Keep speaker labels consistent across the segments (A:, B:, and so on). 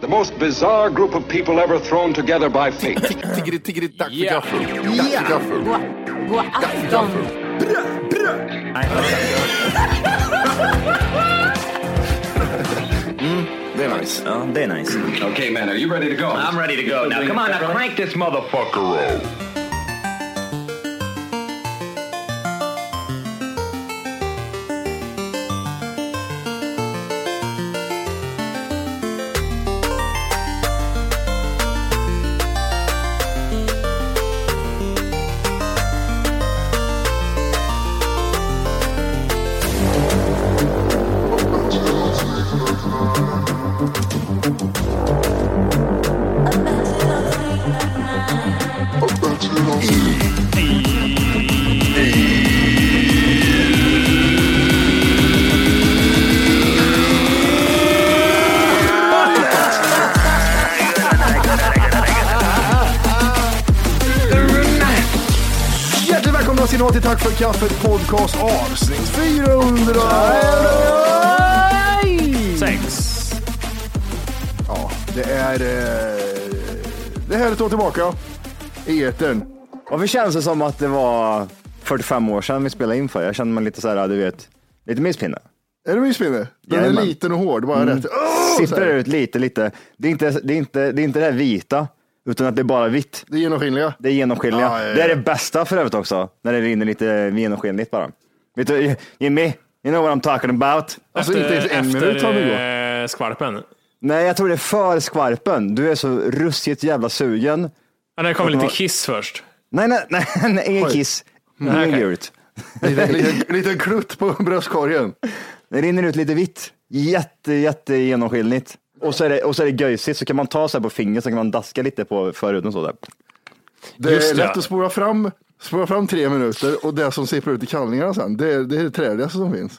A: The most bizarre group of people ever thrown together by fate.
B: Tiggeri, tiggeri, dack för
C: Ja.
B: gaffel. Dack för gaffel.
D: God afton!
B: Det är nice.
E: Ja, det är nice.
A: okay, man, are you ready to go?
C: Oh, I'm ready to go now. Come on, now crank this motherfucker up.
B: Hjärtligt välkomna ska ni vara till Tack för kaffet podcast avsnitt 400.
C: Sex.
B: Ja, det är... Eh, det här är ett år tillbaka i etern.
E: Varför känns det som att det var 45 år sedan vi spelade in för? Jag känner mig lite så här, du vet, lite misspinne.
B: Är det minspinne? Den är
E: Jajamän. Mm.
B: liten och hård, bara rätt. Åh, så
E: Sipprar
B: här.
E: ut lite, lite. Det är, inte, det, är inte, det är inte det här vita, utan att det är bara vitt.
B: Det är genomskinliga.
E: Det är genomskinliga.
B: Ja, ja, ja.
E: Det är det bästa för övrigt också, när det rinner lite genomskinligt bara. Vet du, Jimmy, you know what I'm talking about?
B: Alltså inte ens en minut har vi gått.
C: eh, skvalpen.
E: Nej, jag tror det är för skvarpen. Du är så ruskigt jävla sugen.
C: Ja, det kommer lite kiss först.
E: Nej, nej, nej, nej ingen kiss. Ingen
C: okej.
E: gult.
B: Liten, liten, liten klutt på bröstkorgen.
E: Det rinner ut lite vitt. Jätte, jätte genomskinligt. Och så är det, och så är det göjsigt, så kan man ta så här på fingret, så kan man daska lite på förhuden så där.
B: Det
C: Just
B: är
C: det.
B: lätt att spåra fram, spåra fram tre minuter och det som sipprar ut i kallningarna sen, det, är- det är det träligaste som finns.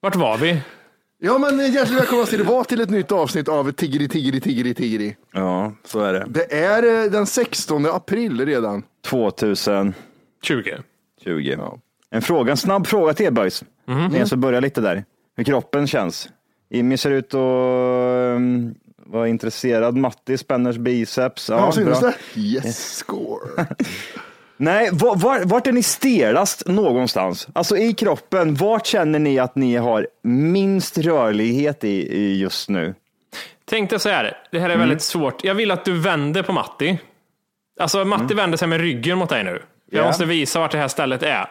C: Vart var vi?
B: Ja men eh, hjärtligt välkomna ska ni vara till ett nytt avsnitt av Tiggeri Tiggeri Tiggeri Tiggeri.
E: Ja, så är det.
B: Det är eh, den 16 april redan.
E: 2020.
C: 20.
E: En fråga, en snabb fråga till er boys. Mm. Jag ska börja lite där. Hur kroppen känns. Jimmy ser ut att um, vara intresserad. Matti spänner biceps.
B: Ja, syns
E: bra.
B: det? Yes, score.
E: Nej, var, var, vart är ni stelast någonstans? Alltså i kroppen, vart känner ni att ni har minst rörlighet i, i just nu?
C: Tänk dig så här, det här är
B: Mm.
C: väldigt svårt. Jag vill att du vänder på Matti. Alltså Matti
B: Mm.
C: vänder sig med ryggen mot dig nu. Jag
E: Ja.
C: måste visa vart det här stället är.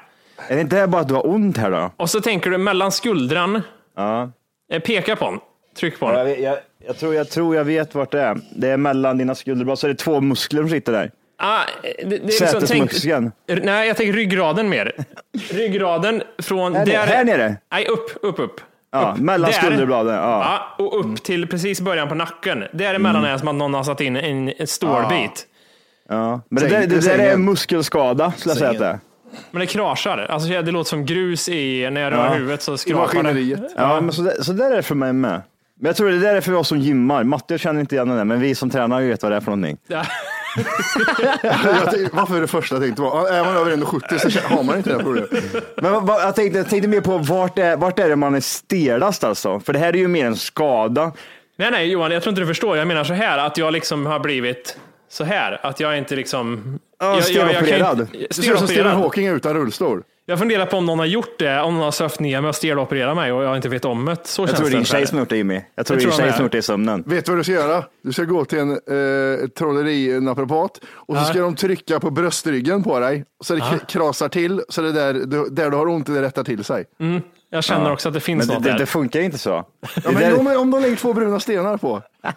E: Är det inte bara att du har ont här då?
C: Och så tänker du mellan skuldran,
E: Ja.
C: eh, peka på den, tryck på
E: Jag,
C: den.
E: vet- jag, jag, tror, jag tror jag vet vart det är. Det är mellan dina skulderblad, så är det två muskler som sitter där.
C: Ah, det, det är liksom, tänk,
E: Sätesmuskeln.
C: r- nej, jag tänker ryggraden mer. Ryggraden från
E: Här nere-
C: där.
E: här nere?
C: Nej, upp, upp, upp.
E: Ja,
C: upp.
E: mellan skulderbladen. Ja. Mm.
C: Ja, och upp till precis början på nacken. Däremellan är det som att någon har satt in en, en stålbit.
E: Ja. Men
B: Säng-
E: det, där, det där är
B: sängen.
E: muskelskada, skulle jag säga att det är.
C: Men det kraschar. Alltså, det låter som grus i, när jag rör
E: Ja.
C: huvudet så
B: I
C: skrapar det.
B: maskineriet.
E: Ja, men så, där, så där är det för mig med. Men jag tror det där är för oss som gymmar. Matte jag känner inte igen den där, men vi som tränar vet vad det är för någonting.
C: Ja.
B: Jag tänkte- Varför är det första jag tänkte var, är man över 1,70 så har man inte det här problemet.
E: Men vad- vad- jag tänkte, jag tänkte mer på vart är, vart är det man är stelast alltså? För det här är ju mer en skada.
C: Nej, nej Johan, jag tror inte du förstår. Jag menar så här, att jag liksom har blivit så här. Att jag inte liksom...
E: Ja,
C: jag- jag- jag kan ju-
E: stelopererad.
B: Du ser ut som Stephen
C: Stelopererad.
B: Hawking utan rullstol.
C: Jag funderar på om någon har gjort det, om någon har sövt ner mig och stelopererat mig och jag inte vet om det. Så
E: Jag
C: känns
E: tror det är
C: det.
E: en tjej som har
C: ungefär.
E: gjort det Jimmy. Jag tror
C: Jag
E: det är en tjej
C: tror jag
E: som har
C: med.
E: gjort det i sömnen.
B: Vet du vad du ska göra? Du ska gå till en eh, ett trollerinapparat och så ska de trycka på bröstryggen på dig så det k- krasar till så det där, du- där du har ont det rättar till sig.
C: Jag känner också att det finns
E: Men det,
C: något
E: det,
C: där.
E: det funkar inte så.
B: Ja, men, jo, men om de lägger två bruna stenar på. ja,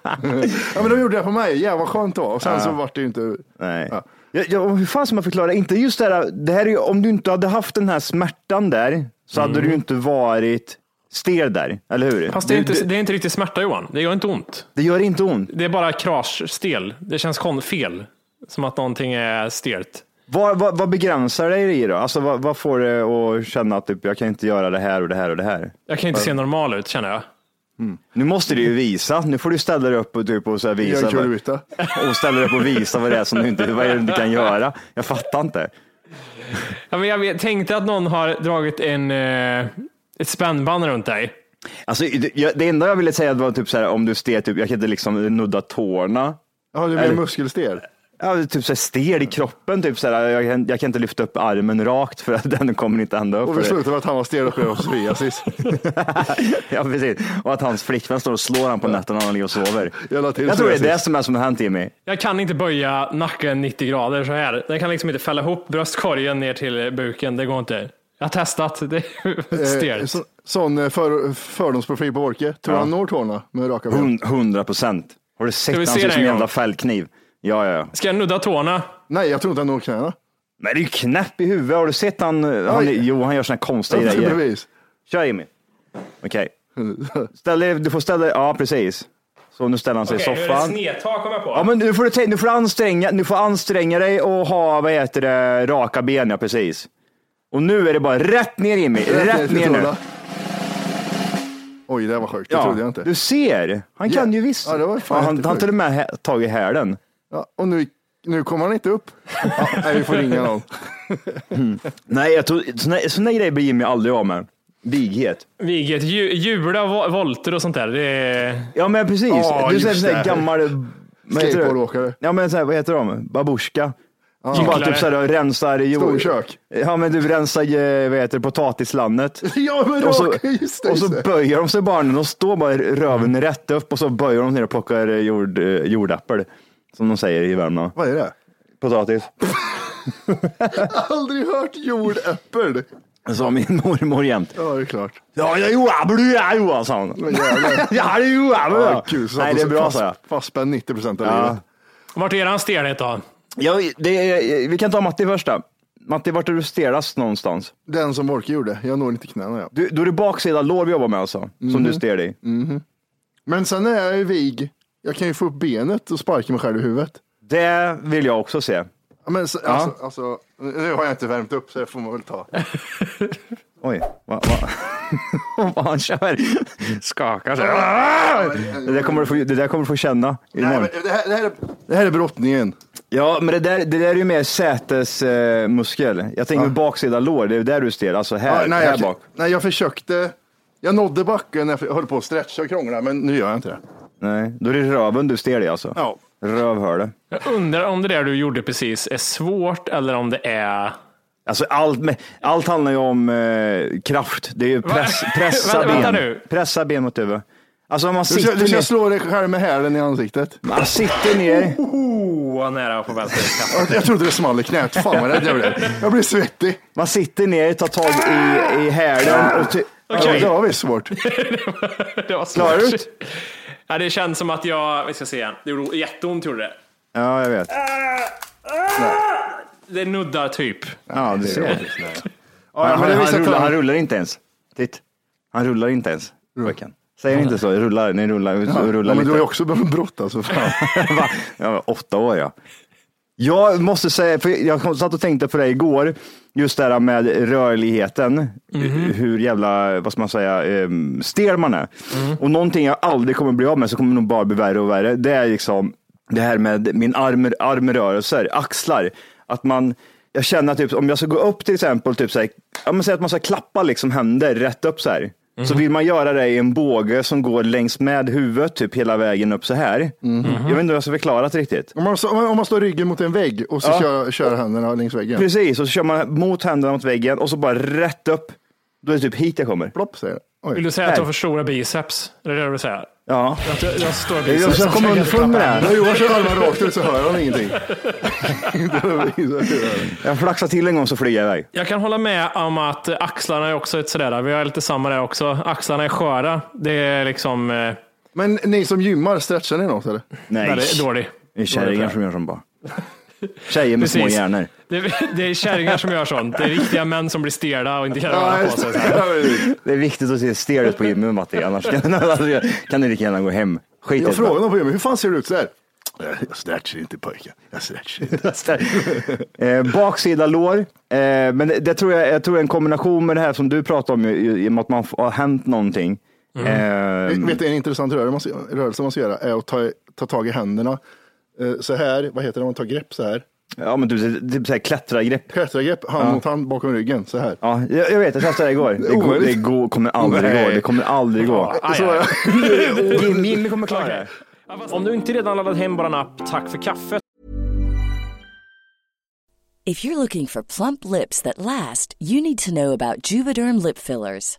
B: men de gjorde det på mig. Jävlar vad skönt det var. Och sen så vart det ju inte.
E: Nej.
B: Ja.
E: Ja, ja, och hur fan ska man förklara? Inte just det här, det här är ju, om du inte hade haft den här smärtan där så hade du ju inte varit stel där, eller hur?
C: Mm. Fast det är,
E: Du-
C: inte,
E: du-
C: det är inte riktigt smärta Johan. Det gör inte ont.
E: det gör inte ont.
C: Det är bara kraschstel. Det känns kon- fel. Som att någonting är stelt.
E: Vad, vad, vad begränsar dig i då? Alltså, vad, vad får det att känna att typ, jag kan inte göra det här och det här och det här?
C: Jag kan inte se normal ut känner jag.
E: Nu måste du ju visa. Nu får du ställa dig upp och, typ, och, så här
B: Jag
E: visa,
B: är
E: vad,
B: kulruta.
E: och ställa dig upp och visa vad det är som du inte, vad är det du inte kan göra. Jag fattar inte.
C: Ja, men jag vet, tänkte att någon har dragit en, eh, ett spännband runt dig.
E: Alltså, det, jag, det enda jag ville säga var typ så här, om du stel, typ, jag kan inte liksom nudda tårna.
B: Ja, du blir
E: Eller-
B: muskelstel.
E: Ja, typ så här stel i kroppen. Typ så här, jag, kan, jag kan inte lyfta upp armen rakt för att den kommer inte ända upp.
B: Och vi slutade med att han var stel och blev psoriasis.
E: ja, precis. Och att hans flickvän står och slår honom på nätterna när han ligger och sover.
B: Jag la till
E: tror det är det
B: psoriasis.
E: som är som har hänt Jimmy.
C: Jag kan inte böja nacken 90 grader så här. Den kan liksom inte fälla ihop bröstkorgen ner till buken. Det går inte. Jag har testat. Det är
B: Eh,
C: stelt.
B: så, sån eh, för, fördomsprofil på Wolke. Tror han når tårna med raka ben?
E: Hun- 100 procent. Har du sett
C: vi
E: han
C: se
E: ser ut
C: det
E: som en
C: en
E: jävla
C: gång?
E: fällkniv? Ja, ja, ja.
C: Ska jag nudda tårna?
B: Nej, jag tror inte han når knäna.
E: Men det är ju knäpp i huvudet. Har du sett han? han
B: Oj.
E: jo, han gör såna konstiga
B: Upp till
E: grejer.
B: bevis.
E: Kör Jimmy. Okej. Ställ dig, du får ställa dig, ja precis. Så nu ställer han sig i soffan.
C: snedtak kommer jag på.
E: Ja, men nu får du, ta- nu får du, anstränga, nu får du anstränga dig och ha, vad heter det, raka ben, ja precis. Och nu är det bara rätt ner Jimmy, rätt,
B: till
E: ner nu.
B: tårna. Oj, det var sjukt. Det
E: Ja,
B: trodde jag inte.
E: Du ser, han kan
B: Ja.
E: ju visst.
B: Ja, det var fan
E: han han har
B: jättesjukt.
E: till och med hä- tagit hälen.
B: Ja, och nu, nu kommer han inte upp. Ja, nej, vi får ringa någon.
E: Nej, jag tror, såna, såna grejer blir Jimmy aldrig av med. Vighet.
C: Vigget, ju- jula, vo- volter och sånt där. Det är...
E: Ja men precis,
B: Ja,
E: du är sån
B: just
E: här
B: det.
E: gammal vad heter det?
B: Skateboardåkare.
E: Ja men så här, vad heter de? Babushka. Som bara
C: Gycklare.
E: typ så här, rensar jord.
B: Storkök.
E: Ja men du rensar eh, vad heter det, potatislandet.
B: Ja, men
E: Och så,
B: raka, just det.
E: och så
B: Just det. Mm.
E: böjer de sig barnen, de står bara röven rätt upp och så böjer de sig ner och plockar eh, jord, eh, jordäppel. Som de säger i Värmland.
B: Vad är det?
E: Potatis.
B: Aldrig hört jordäppel.
E: Sa min mormor jämt.
B: Ja, det är klart.
E: Ja, jag är jordäppel, du är Johansson.
B: Jävlar.
E: Ja, det är jordäppel.
B: Ja, kul. Så
E: Nej, det är bra sa jag.
B: fast, Fastspänd 90 procent av
E: Ja.
B: livet.
C: Vart är eran stelhet då?
E: Ja, det är, vi kan ta Matti först då. Matti, vart är du stelast någonstans?
B: Den som Wolke gjorde. Jag når inte knäna. Ja.
E: Du, då är det baksida lår vi jobbar med alltså, som
B: Mhm.
E: du stel i.
B: Men sen när jag är vig, jag kan ju få upp benet och sparka mig själv i huvudet.
E: Det vill jag också se.
B: Ja, Men, så, alltså, alltså, nu har jag inte värmt upp så det får man väl ta.
E: Oj, vad va, vad han kör. Skakar så
C: Ah!
E: här. Det där kommer du få, det där kommer du få känna
B: Nej,
E: imorgon.
B: men det, här, det, här är, det här är brottningen.
E: Ja, men det där, det där är ju mer sätesmuskel. Eh, muskel. jag tänker baksida lår, det är där du är stel. Alltså här,
B: Ja, nej,
E: här
B: jag,
E: bak.
B: nej, jag försökte. Jag nådde backen när jag höll på att stretcha och krångla, men nu gör jag inte det.
E: Nej, då är det röven du är stel i alltså.
B: Ja.
E: Rövhålet.
C: Jag undrar om det där du gjorde precis är svårt eller om det är...
E: Alltså allt, med, allt handlar ju om eh, kraft. Det är ju press, pressa
C: Vänta-
E: ben.
C: vänta nu.
E: Pressa ben mot huvud. Alltså om man
B: Du ska,
E: sitter,
B: du ska
E: ner,
B: slå dig själv med hälen i ansiktet.
E: man sitter ner.
C: Oh, vad nära på vänster
B: Jag, jag trodde det small i knät. Fan vad rädd jag blev. Jag blev svettig.
E: Man sitter ner, tar tag i, i hälen och ty-
B: Ja,
C: Okej.
B: det var visst svårt.
C: Det var svårt.
E: Klarar du det?
C: Ja, det känns som att jag... Vi ska se igen. Det gjorde jätteont gjorde det.
E: Ja, jag vet.
C: Det nuddar typ.
E: Ja, du ser.
B: Ja, men
E: han,
B: det
E: han,
B: visar
E: rullar,
B: att
E: han
B: han-
E: rullar inte ens. Titt. Han rullar inte ens. Pojken. Säger ni inte så? Rullar, ni rullar, rullar
B: Ja, men du har ju
E: lite.
B: också börjat brott alltså. Fan.
E: Va? jag var åtta år ja. Jag måste säga, för jag kom- satt och tänkte på det igår, just det här med rörligheten, hur jävla, vad ska man säga, ehm, stel man är. Och någonting jag aldrig kommer bli av med, så kommer det nog bara bli värre och värre, det är liksom det här med min arm, armrörelser, axlar. Att man, jag känner att typ, om jag ska gå upp till exempel, typ så här, ja, men säg att man ska klappa liksom händer rätt upp så här. Så vill man göra det i en båge som går längs med huvudet typ hela vägen upp så här. Jag vet inte hur jag ska förklara det riktigt.
B: Om man, om man står ryggen mot en vägg och så
E: Ja.
B: kör, kör händerna längs väggen.
E: Precis, och så kör man mot händerna mot väggen och så bara rätt upp. Då är det typ hit jag kommer.
B: Plopp säger det.
C: Vill
B: Oj.
C: du säga att du
E: Här.
C: har för stora biceps? Är det det du vill säga?
E: Ja.
C: Att du, du har stora
E: Jag, jag,
C: biceps?
E: jag kom underfund med det här.
B: När Johan kör armarna rakt ut så hör han ingenting.
E: Jag flaxade till en gång så flyger jag iväg.
C: Jag kan hålla med om att axlarna är också ett sådär, vi har lite samma där också. Axlarna är sköra. Det är liksom, eh, nej,
B: Men ni som gymmar, stretchar ni något eller?
E: Nej,
C: det är dålig.
E: det är kärringar som gör som bara. Tjejer med små
C: Precis.
E: hjärnor.
C: Det, det är kärringar som gör sånt. Det är riktiga män som blir stela och inte kan röra på sig. Så här.
E: Det är viktigt att se stel ut på gymmet Matti, annars kan, annars kan ni lika gärna gå hem. Skit i det.
B: Jag frågade honom på gymmet, hur fan ser det ut så här? Jag stretchar inte pojkar, jag stretchar inte.
E: eh, baksida lår. Eh, men det, det tror jag, jag tror en kombination med det här som du pratade om, i- i- i och med att man f- har hänt någonting. Eh,
B: Mm. Vet du, en intressant rörelse man ska, rörelse man ska göra är att ta, ta tag i händerna eh, så här, vad heter det, man tar grepp så här.
E: ja, men du, typ så här klättrargrepp.
B: Klättrargrepp, hand mot hand bakom ryggen, så här.
E: Ja, jag, jag vet, jag testade det igår. Det, går,
B: Omöjligt.
E: det går, kommer aldrig
B: Nej.
E: gå. Det kommer aldrig gå.
C: Aj,
B: Så,
C: aj.
E: Mimmi kommer klara det.
C: Om du inte redan laddat hem bara en app Tack för kaffet
F: If you're looking for plump lips that last, you need to know about Juvederm lip fillers.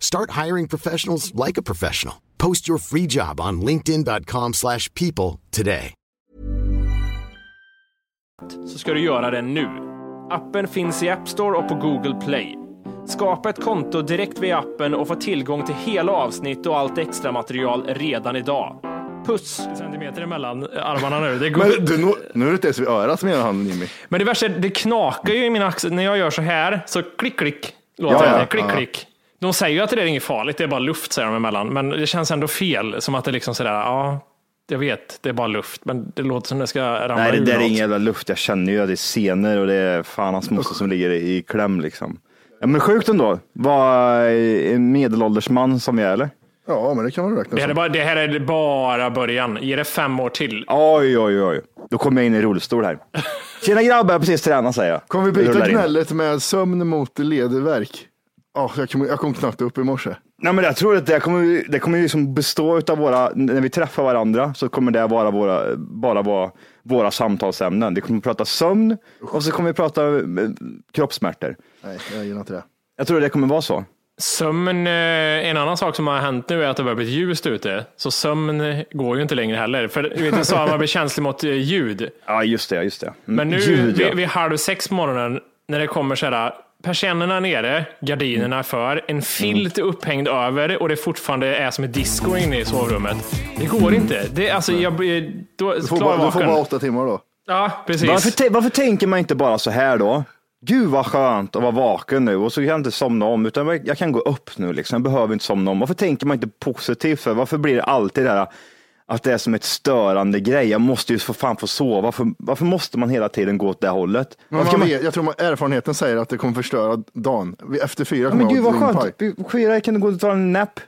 G: Start hiring professionals like a professional. Post your free job on linkedin.com/people slash people today.
C: så ska du göra det nu. Appen finns i App Store och på Google Play. Skapa ett konto direkt via appen och få tillgång till hela avsnitt och allt extra material redan idag. Puss! Centimeter emellan armarna nu. Det går.
B: Men du, nu, nu är det inte ens vid örat menar han Jimmy.
C: Men det värsta är, det knakar ju i mina axlar. När jag gör så här, så klick, klick. Låter
B: Ja,
C: det.
B: ja,
C: klick,
B: ja.
C: klick. De säger ju att det är inget farligt, det är bara luft säger de emellan. Men det känns ändå fel, som att det liksom sådär, ja, jag vet, det är bara luft, men det låter som det ska ramla
E: Nej, det
C: ur
E: där är
C: något.
E: ingen jävla luft. Jag känner ju att det är senor och det är fan hans moster som ligger i kläm liksom. Ja, men sjukt ändå. Var en medelålders man som jag är, eller?
B: Ja, men det kan man räkna
C: Det här, är
B: som.
C: bara, det här är bara början. Ge det fem år till.
E: Oj, oj, oj. Då kommer jag in i rullstol här. Tjena grabbar, jag har precis tränat säger jag.
B: Kommer vi
E: Rullar
B: byta
E: in.
B: knället med sömn mot ledvärk? Ja, jag, kom, jag kom knappt upp i morse.
E: Nej, men jag tror att det kommer, det kommer ju liksom bestå av våra, när vi träffar varandra så kommer det vara våra, bara vara våra samtalsämnen. Vi kommer prata sömn och så kommer vi prata eh, kroppssmärtor.
B: Nej, jag gillar inte det.
E: Jag tror det kommer vara så.
C: Sömn, eh, en annan sak som har hänt nu är att det börjar bli ljust ute. Så sömn går ju inte längre heller. För du vet, jag sa att man blir känslig mot eh, ljud.
E: Ja, just det. Just det. Mm,
C: Men nu
E: Ljud, ja.
C: vid, vid halv sex på morgonen när det kommer så här persiennerna nere, gardinerna för, en filt upphängd över och det fortfarande är som ett disco inne i sovrummet. Det går inte. Det, alltså, jag blir... Då,
B: Du får, bara, du får
C: klarvaken.
B: bara åtta timmar då.
C: Ja, precis.
E: Varför, te- varför tänker man inte bara så här då? Gud vad skönt att vara vaken nu och så kan jag inte somna om utan jag- jag kan gå upp nu liksom. Jag behöver inte somna om. Varför tänker man inte positivt? För? Varför blir det alltid det här att det är som ett störande grej? Jag måste ju för fan få sova. Varför, varför måste man hela tiden gå åt det hållet?
B: Men
E: Varför
B: man
E: kan man...
B: vet, jag tror man, erfarenheten säger att det kommer förstöra dagen. Vi- Efter fyra
E: Ja, men
B: kommer
E: gud
B: jag
E: vad
B: ha
E: skönt.
B: drinkpaj.
E: Vi- Fyra, jag kunde gå och dra en napp.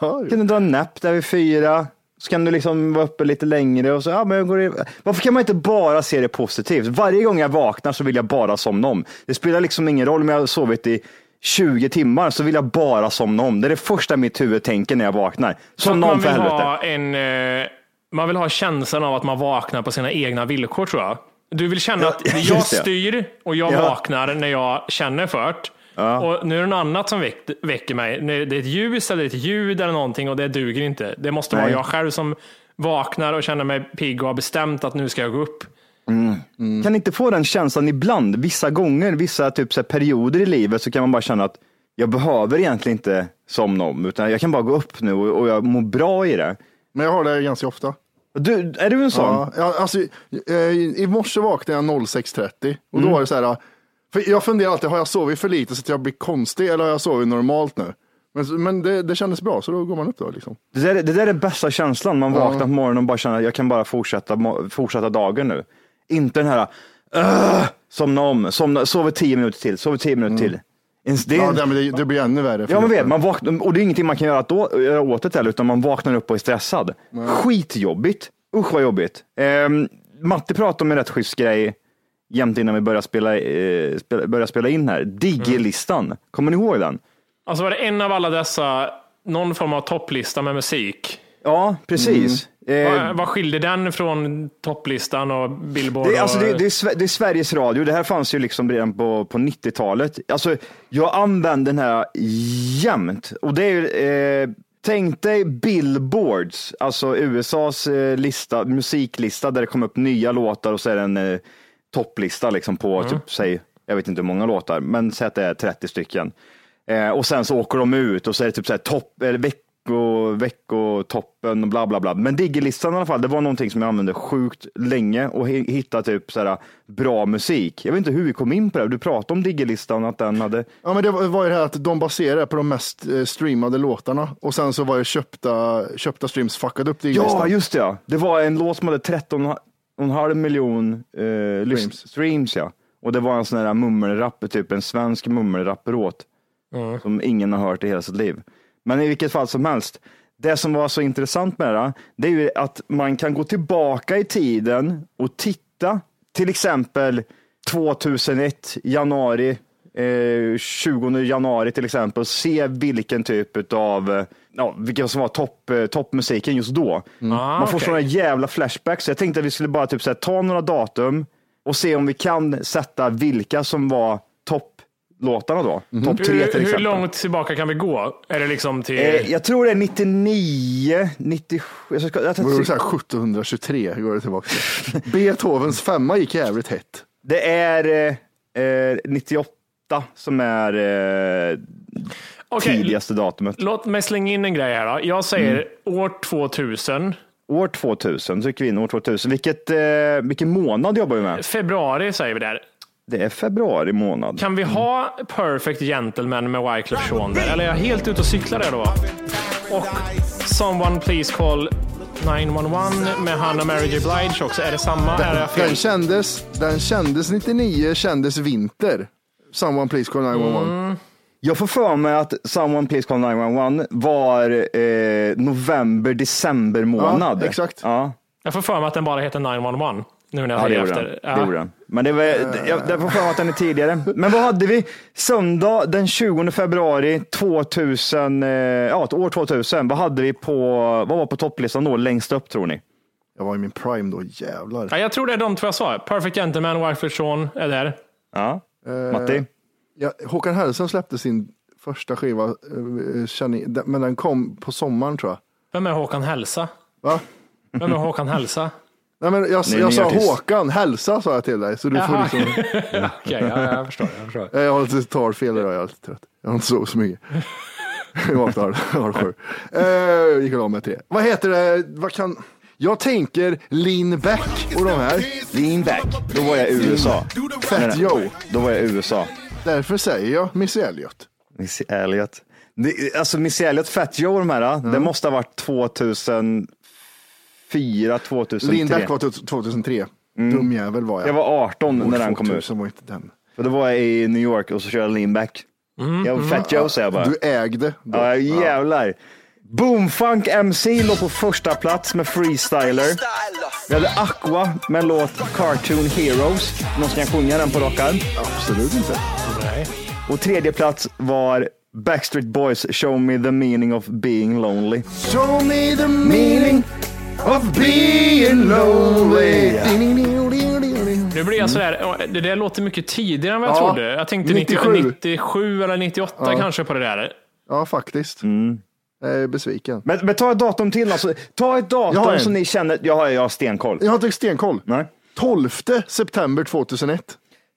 E: Jag kunde dra en napp där vid fyra. Så kan du liksom vara uppe lite längre och så, ja, men jag går i... Varför kan man inte bara se det positivt? Varje gång jag vaknar så vill jag bara somna om. Det spelar liksom ingen roll om jag har sovit i 20 timmar så vill jag bara somna om. Det är det första mitt huvud tänker när jag vaknar. Somna
C: man
E: om för
C: vill
E: helvete.
C: ha en, eh, Man vill ha känslan av att man vaknar på sina egna villkor tror jag. Du vill känna
E: Ja,
C: att
E: just
C: jag
E: det.
C: styr och jag
E: Ja.
C: vaknar när jag känner för det. Och nu är det något annat som väck, väcker mig. Nu- Det är ett ljus eller ett ljud eller någonting och det duger inte. Det måste vara
E: Nej.
C: jag själv som vaknar och känner mig pigg och har bestämt att nu ska jag gå upp.
B: Mm.
E: Kan inte få den känslan ibland, vissa gånger, vissa typ så här perioder i livet så kan man bara känna att jag behöver egentligen inte somna om, utan jag kan bara gå upp nu och och jag mår bra i det.
B: Men jag har det ganska ofta.
E: Du, är du en sån?
B: Ja, ja, alltså, eh, I morse vaknade jag 06.30 och
E: Mm.
B: då var det så här. För jag funderar alltid, har jag sovit för lite så att jag blir konstig eller har jag sovit normalt nu? Men, men det, det kändes bra, så då går man upp då. Liksom.
E: Det, där, är- det där är den bästa känslan, man
B: Ja.
E: vaknar på morgonen och bara känner att jag kan bara fortsätta, mo- fortsätta dagen nu. Inte den här, "Åh, somna om, somna, sover tio minuter till, sover tio minuter till. Ens Det,
B: Mm. ja, det, men det, det blir ännu värre. för
E: Ja, man vet.
B: kroppen.
E: Man vaknar, och det är ingenting man kan göra, att då, göra åt det heller, utan man vaknar upp och är stressad. Skitjobbigt. Usch vad jobbigt. Ehm, Matti pratade om en rätt schysst grej jämt innan vi började spela, eh, spela, började spela in här. Digge-listan. Kommer ni ihåg den?
C: Alltså var det en av alla dessa, någon form av topplista med musik.
E: Ja, precis. Eh,
C: Vad, vad skilde den från topplistan och Billboard?
E: Det, är- alltså,
C: och,
E: det, det, är, Sve- det är Sveriges Radio. Det här fanns ju liksom redan på, på 90-talet. Alltså, jag använder den här jämt. Och det är, ju, eh, tänk dig Billboards, alltså USAs eh, lista, musiklista där det kommer upp nya låtar och så är det en eh, topplista liksom på, typ, säg, jag vet inte hur många låtar, men säg att det är 30 stycken. Eh, och sen så åker de ut och så är det typ så här topp, eller vecko, veckotoppen och bla bla bla. Men diggerlistan i alla fall, det var någonting som jag använde sjukt länge och he- hitta typ så här bra musik. Jag vet inte hur vi kom in på det. Du pratade om diggerlistan, att den hade...
B: Ja, men det var var ju det här att de baserade på de mest eh, streamade låtarna och sen så var ju köpta, köpta streams fuckade upp det i
E: Ja,
B: listan.
E: just det. Ja. Det var en låt som hade 13,5 miljon eh, streams. streams ja. Och det var en sån här mummelrapp, typ en svensk mummelrapplåt. som ingen har hört i hela sitt liv. Men i vilket fall som helst, det som var så intressant med det, här, det är ju att man kan gå tillbaka i tiden och titta, till exempel 2001, januari, eh, 20 januari till exempel, och se vilken typ av, ja, vilken som var topp, eh, toppmusiken just då.
C: Ah,
E: man får
C: okej.
E: sådana jävla flashbacks, så jag tänkte att vi skulle bara typ så här, ta några datum och se om vi kan sätta vilka som var topplåtarna då.
C: Mhm.
E: Topp tre till
C: hur,
E: exempel.
C: hur långt tillbaka kan vi gå? Är det liksom till...
E: Eh, jag tror det är 99, 97. Jag ska, jag
B: Det var ju så
E: ska,
B: här 1723 går det tillbaka till. Beethovens femma gick jävligt hett.
E: det är eh, eh, 98 som är eh,
C: Okej,
E: tidigaste datumet.
C: Låt mig slänga in en grej här. Då. Jag säger
E: Mm.
C: år 2000.
E: År 2000, trycker vi in år 2000. Vilket, eh, vilken månad jobbar vi med?
C: Februari säger vi där.
E: Det är februari månad.
C: Kan vi ha Perfect Gentleman med Wyclef Jean där? Eller är jag helt ute och cyklar där då? Och Someone Please Call 911 med Hanna Mary J Blige också. Är det samma? Är jag fel?
B: Den kändes, den kändes 99, kändes vinter. Someone please call 911.
E: Mm. Jag får för mig att Someone Please Call 911 var eh, november, december månad.
B: Ja, exakt.
E: Ja,
C: Jag får för mig att den bara heter 911. Nu när jag
E: Ja, det
C: tänker
E: gjorde
C: efter.
E: den. Det gjorde den. Men det var, jag, jag får för mig att den är tidigare. Men vad hade vi? Söndag den 20 februari 2000, eh, ja, ett år 2000. Vad hade vi på, vad var på topplistan då längst upp tror ni?
B: Jag var i min prime då, jävlar.
C: Ja, jag tror det är de två jag sa. Perfect Gentleman, Wyclef Jean är där.
E: Ja, Eh. Matti?
B: Ja, Håkan Hellström släppte sin första skiva, eh, känner- den- men den kom på sommaren tror jag.
C: Vem är Håkan Hälsa?
B: Va?
C: Vem är Håkan Hälsa?
B: Nej, men jag
E: Nej,
B: jag
E: ny
B: sa
E: artist.
B: Håkan, hälsa sa jag till dig. Så du får
C: Jaha.
B: liksom...
C: Okej, ja, jag förstår. Jag förstår.
B: Nej, Eh, Jag har lite talfel idag, jag är lite trött. Jag har inte sovit så mycket. Jag vaknade halv sju. Eh, Gick och la mig tre. Vad heter det? Vad kan... Jag tänker Lean Back och de här.
E: Lean back. Då var jag i USA. Nej,
B: Fat
E: nej.
B: Joe.
E: Då var jag i USA.
B: Därför säger jag Missy Elliot.
E: Missy Elliot. Det, alltså Missy Elliot, Fat Joe och de här, det måste ha varit 2004, 2003.
B: Lean Back var t- 2003. Dum jävel var jag.
E: Jag var 18 när den kom ut.
B: 2000 var inte den.
E: För då var jag i New York och så körde jag leanback. jag var Fat Joe säger jag bara.
B: Du ägde. då.
E: ja, jävlar. Boomfunk MC låg på första plats med Freestyler. Vi hade Aqua med en låt Cartoon Heroes. Någon som kan sjunga den på rak arm?
B: Absolut inte.
H: Nej.
E: Och tredje plats var Backstreet Boys Show Me The Meaning of Being Lonely.
B: Show me the meaning of being lonely.
C: Nu blir jag sådär, det där låter mycket tidigare än vad jag
B: Ja,
C: trodde. Jag tänkte 97.
B: 97.
C: 97 eller 98
B: Ja.
C: kanske på det där.
B: Ja, faktiskt. Jag är besviken.
E: Men, men ta ett datum till alltså. Ta ett
B: Jag har
E: datum
B: en.
E: som ni känner, jag har, jag har stenkoll.
B: Jag har inte stenkoll.
E: Nej.
B: 12 september 2001.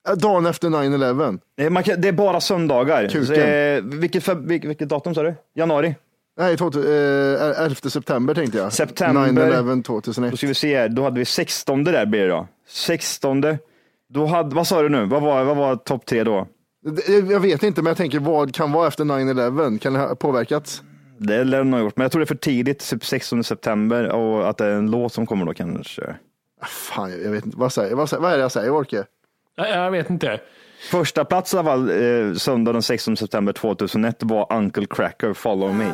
B: Eh, Dagen efter 9-11.
E: Eh, Man kan, det är bara söndagar.
B: Kuken.
E: Så, eh, vilket, feb- vilket, vilket datum sa du? Januari?
B: Nej, 2000, eh, 11 september tänkte jag.
E: September.
B: 9-11
E: Då
B: 2001.
E: ska vi se här, då hade vi 16 där blir det då. 16. Då hade, vad sa du nu? Vad var, vad var topp tre då?
B: Det- Jag vet inte, men jag tänker vad kan vara efter 9-11? Kan det ha påverkats?
E: Det lär de ha gjort, men jag tror det är för tidigt, typ 16 september och att det är en låt som kommer då kanske.
B: Ah, Fan, jag jag vet inte. Vad, säger, vad, säger, vad är det jag säger, Orke?
C: Jag, jag vet inte.
E: Första plats i alla fall, eh, söndag den 16 september 2001 var Uncle Cracker, Follow Me.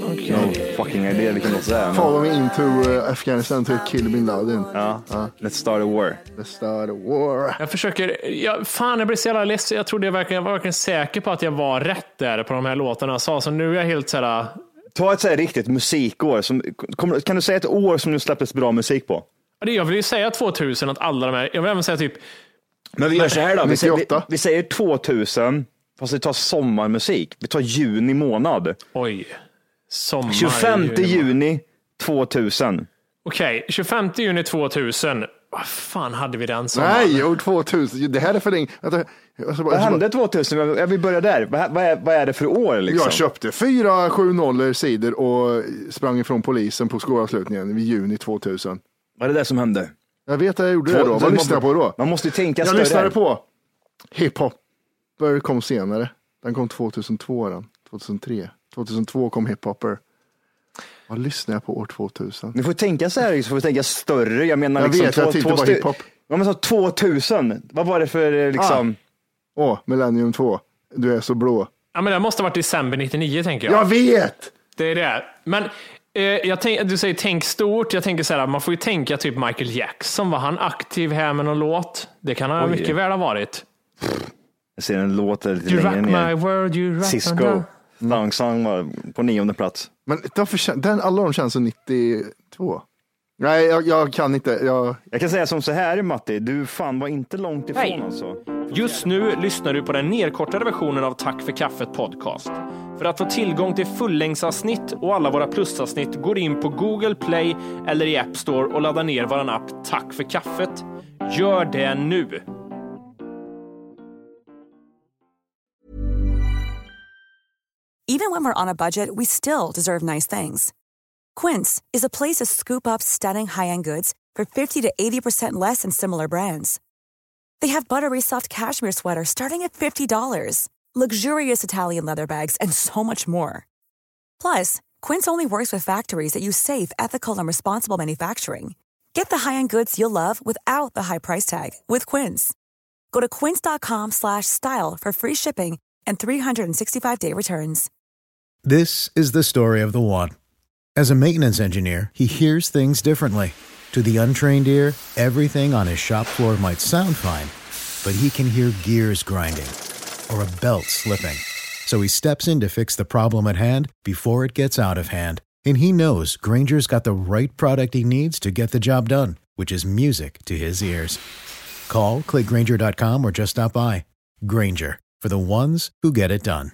E: No fucking idea vilken låt det är. men-
B: Follow me into eh, Afghanistan to kill bin Laden.
E: Ja, Let's start a war.
B: The start of war.
C: Jag försöker, jag, fan jag blir så jävla ledsen. Jag trodde jag, verkligen, jag var verkligen säker på att jag var rätt där på de här låtarna jag sa. Så nu är jag helt såhär,
E: Ta ett så här riktigt musikår. Som, kommer- kan du säga ett år som du släpptes bra musik på?
C: Ja, det- jag vill ju säga 2000 att alla de här, jag vill även säga typ,
E: Men vi gör så här då. Vi, säger, vi,
B: 98.
E: vi säger 2000, fast vi tar sommarmusik. Vi tar juni månad.
C: oj, sommar.
E: 25 juni 2000.
C: Okej, 25 juni 2000. Vad fan hade vi den sommaren?
B: Nej, år 2000. Det här är för länge. Vänta, jag ska bara- jag ska
E: Vad
B: bara-
E: hände 2000? Ja, Vi börjar där. Vad, vad, är, vad är det för år? Liksom?
B: Jag köpte fyra 7-0 sidor och sprang ifrån polisen på skolavslutningen i juni 2000.
E: Vad är det där som hände?
B: Jag vet att jag gjorde det då. Vad lyssnade jag på då?
E: Man måste ju tänka
B: Jag
E: större.
B: lyssnade på hiphop. Började kom senare. Den kom 2002, den. 2003. 2002 kom hiphopper. Vad lyssnade jag på år 2000?
E: Ni får tänka så här, liksom, får tänka större. Jag menar,
B: Jag
E: liksom,
B: vet, jag tyckte bara
E: stu-
B: hiphop. Ah.
E: Ja, men så 2000, vad var det för eh, liksom?
B: Åh, Millennium 2. Du är så blå.
C: Ja, men det måste ha varit december 99 tänker jag.
B: Jag vet!
C: Det är det. Men eh, jag tänk, du säger tänk stort. Jag tänker så här, man får ju tänka typ Michael Jackson. Var han aktiv här med någon låt? Det kan han
E: Oj.
C: mycket väl ha varit.
E: Jag ser en låt där lite
C: You
E: längre
C: rock my
E: ner.
C: world, you rock my
E: Cisco,
C: world.
E: Thong Song var på nionde plats.
B: Men därför, kän- den, alla de känns som 92. Nej, jag, jag kan inte. Jag,
E: Jag kan säga som så här Matti, du fan var inte långt ifrån
C: Nej.
E: alltså.
C: Just nu lyssnar du på den nedkortade versionen av Tack för kaffet podcast. För att få tillgång till fullängdsavsnitt och alla våra plusavsnitt går in på Google Play eller i App Store och laddar ner vår app Tack för kaffet. Gör det nu!
I: Even when we're on a budget, we still deserve nice things. Quince is a place to scoop up stunning high-end goods for 50 to 80% less than similar brands. They have buttery soft cashmere sweaters starting at $50, luxurious Italian leather bags, and so much more. Plus, Quince only works with factories that use safe, ethical, and responsible manufacturing. Get the high-end goods you'll love without the high price tag with Quince. Go to quince.com/style slash style for free shipping and 365-day returns.
H: This is the story of the one. As a maintenance engineer, he hears things differently. To the untrained ear, everything on his shop floor might sound fine, but he can hear gears grinding or a belt slipping. So he steps in to fix the problem at hand before it gets out of hand. And he knows Granger's got the right product he needs to get the job done, which is music to his ears. Call, click Granger.com, or just stop by. Granger, for the ones who get it done.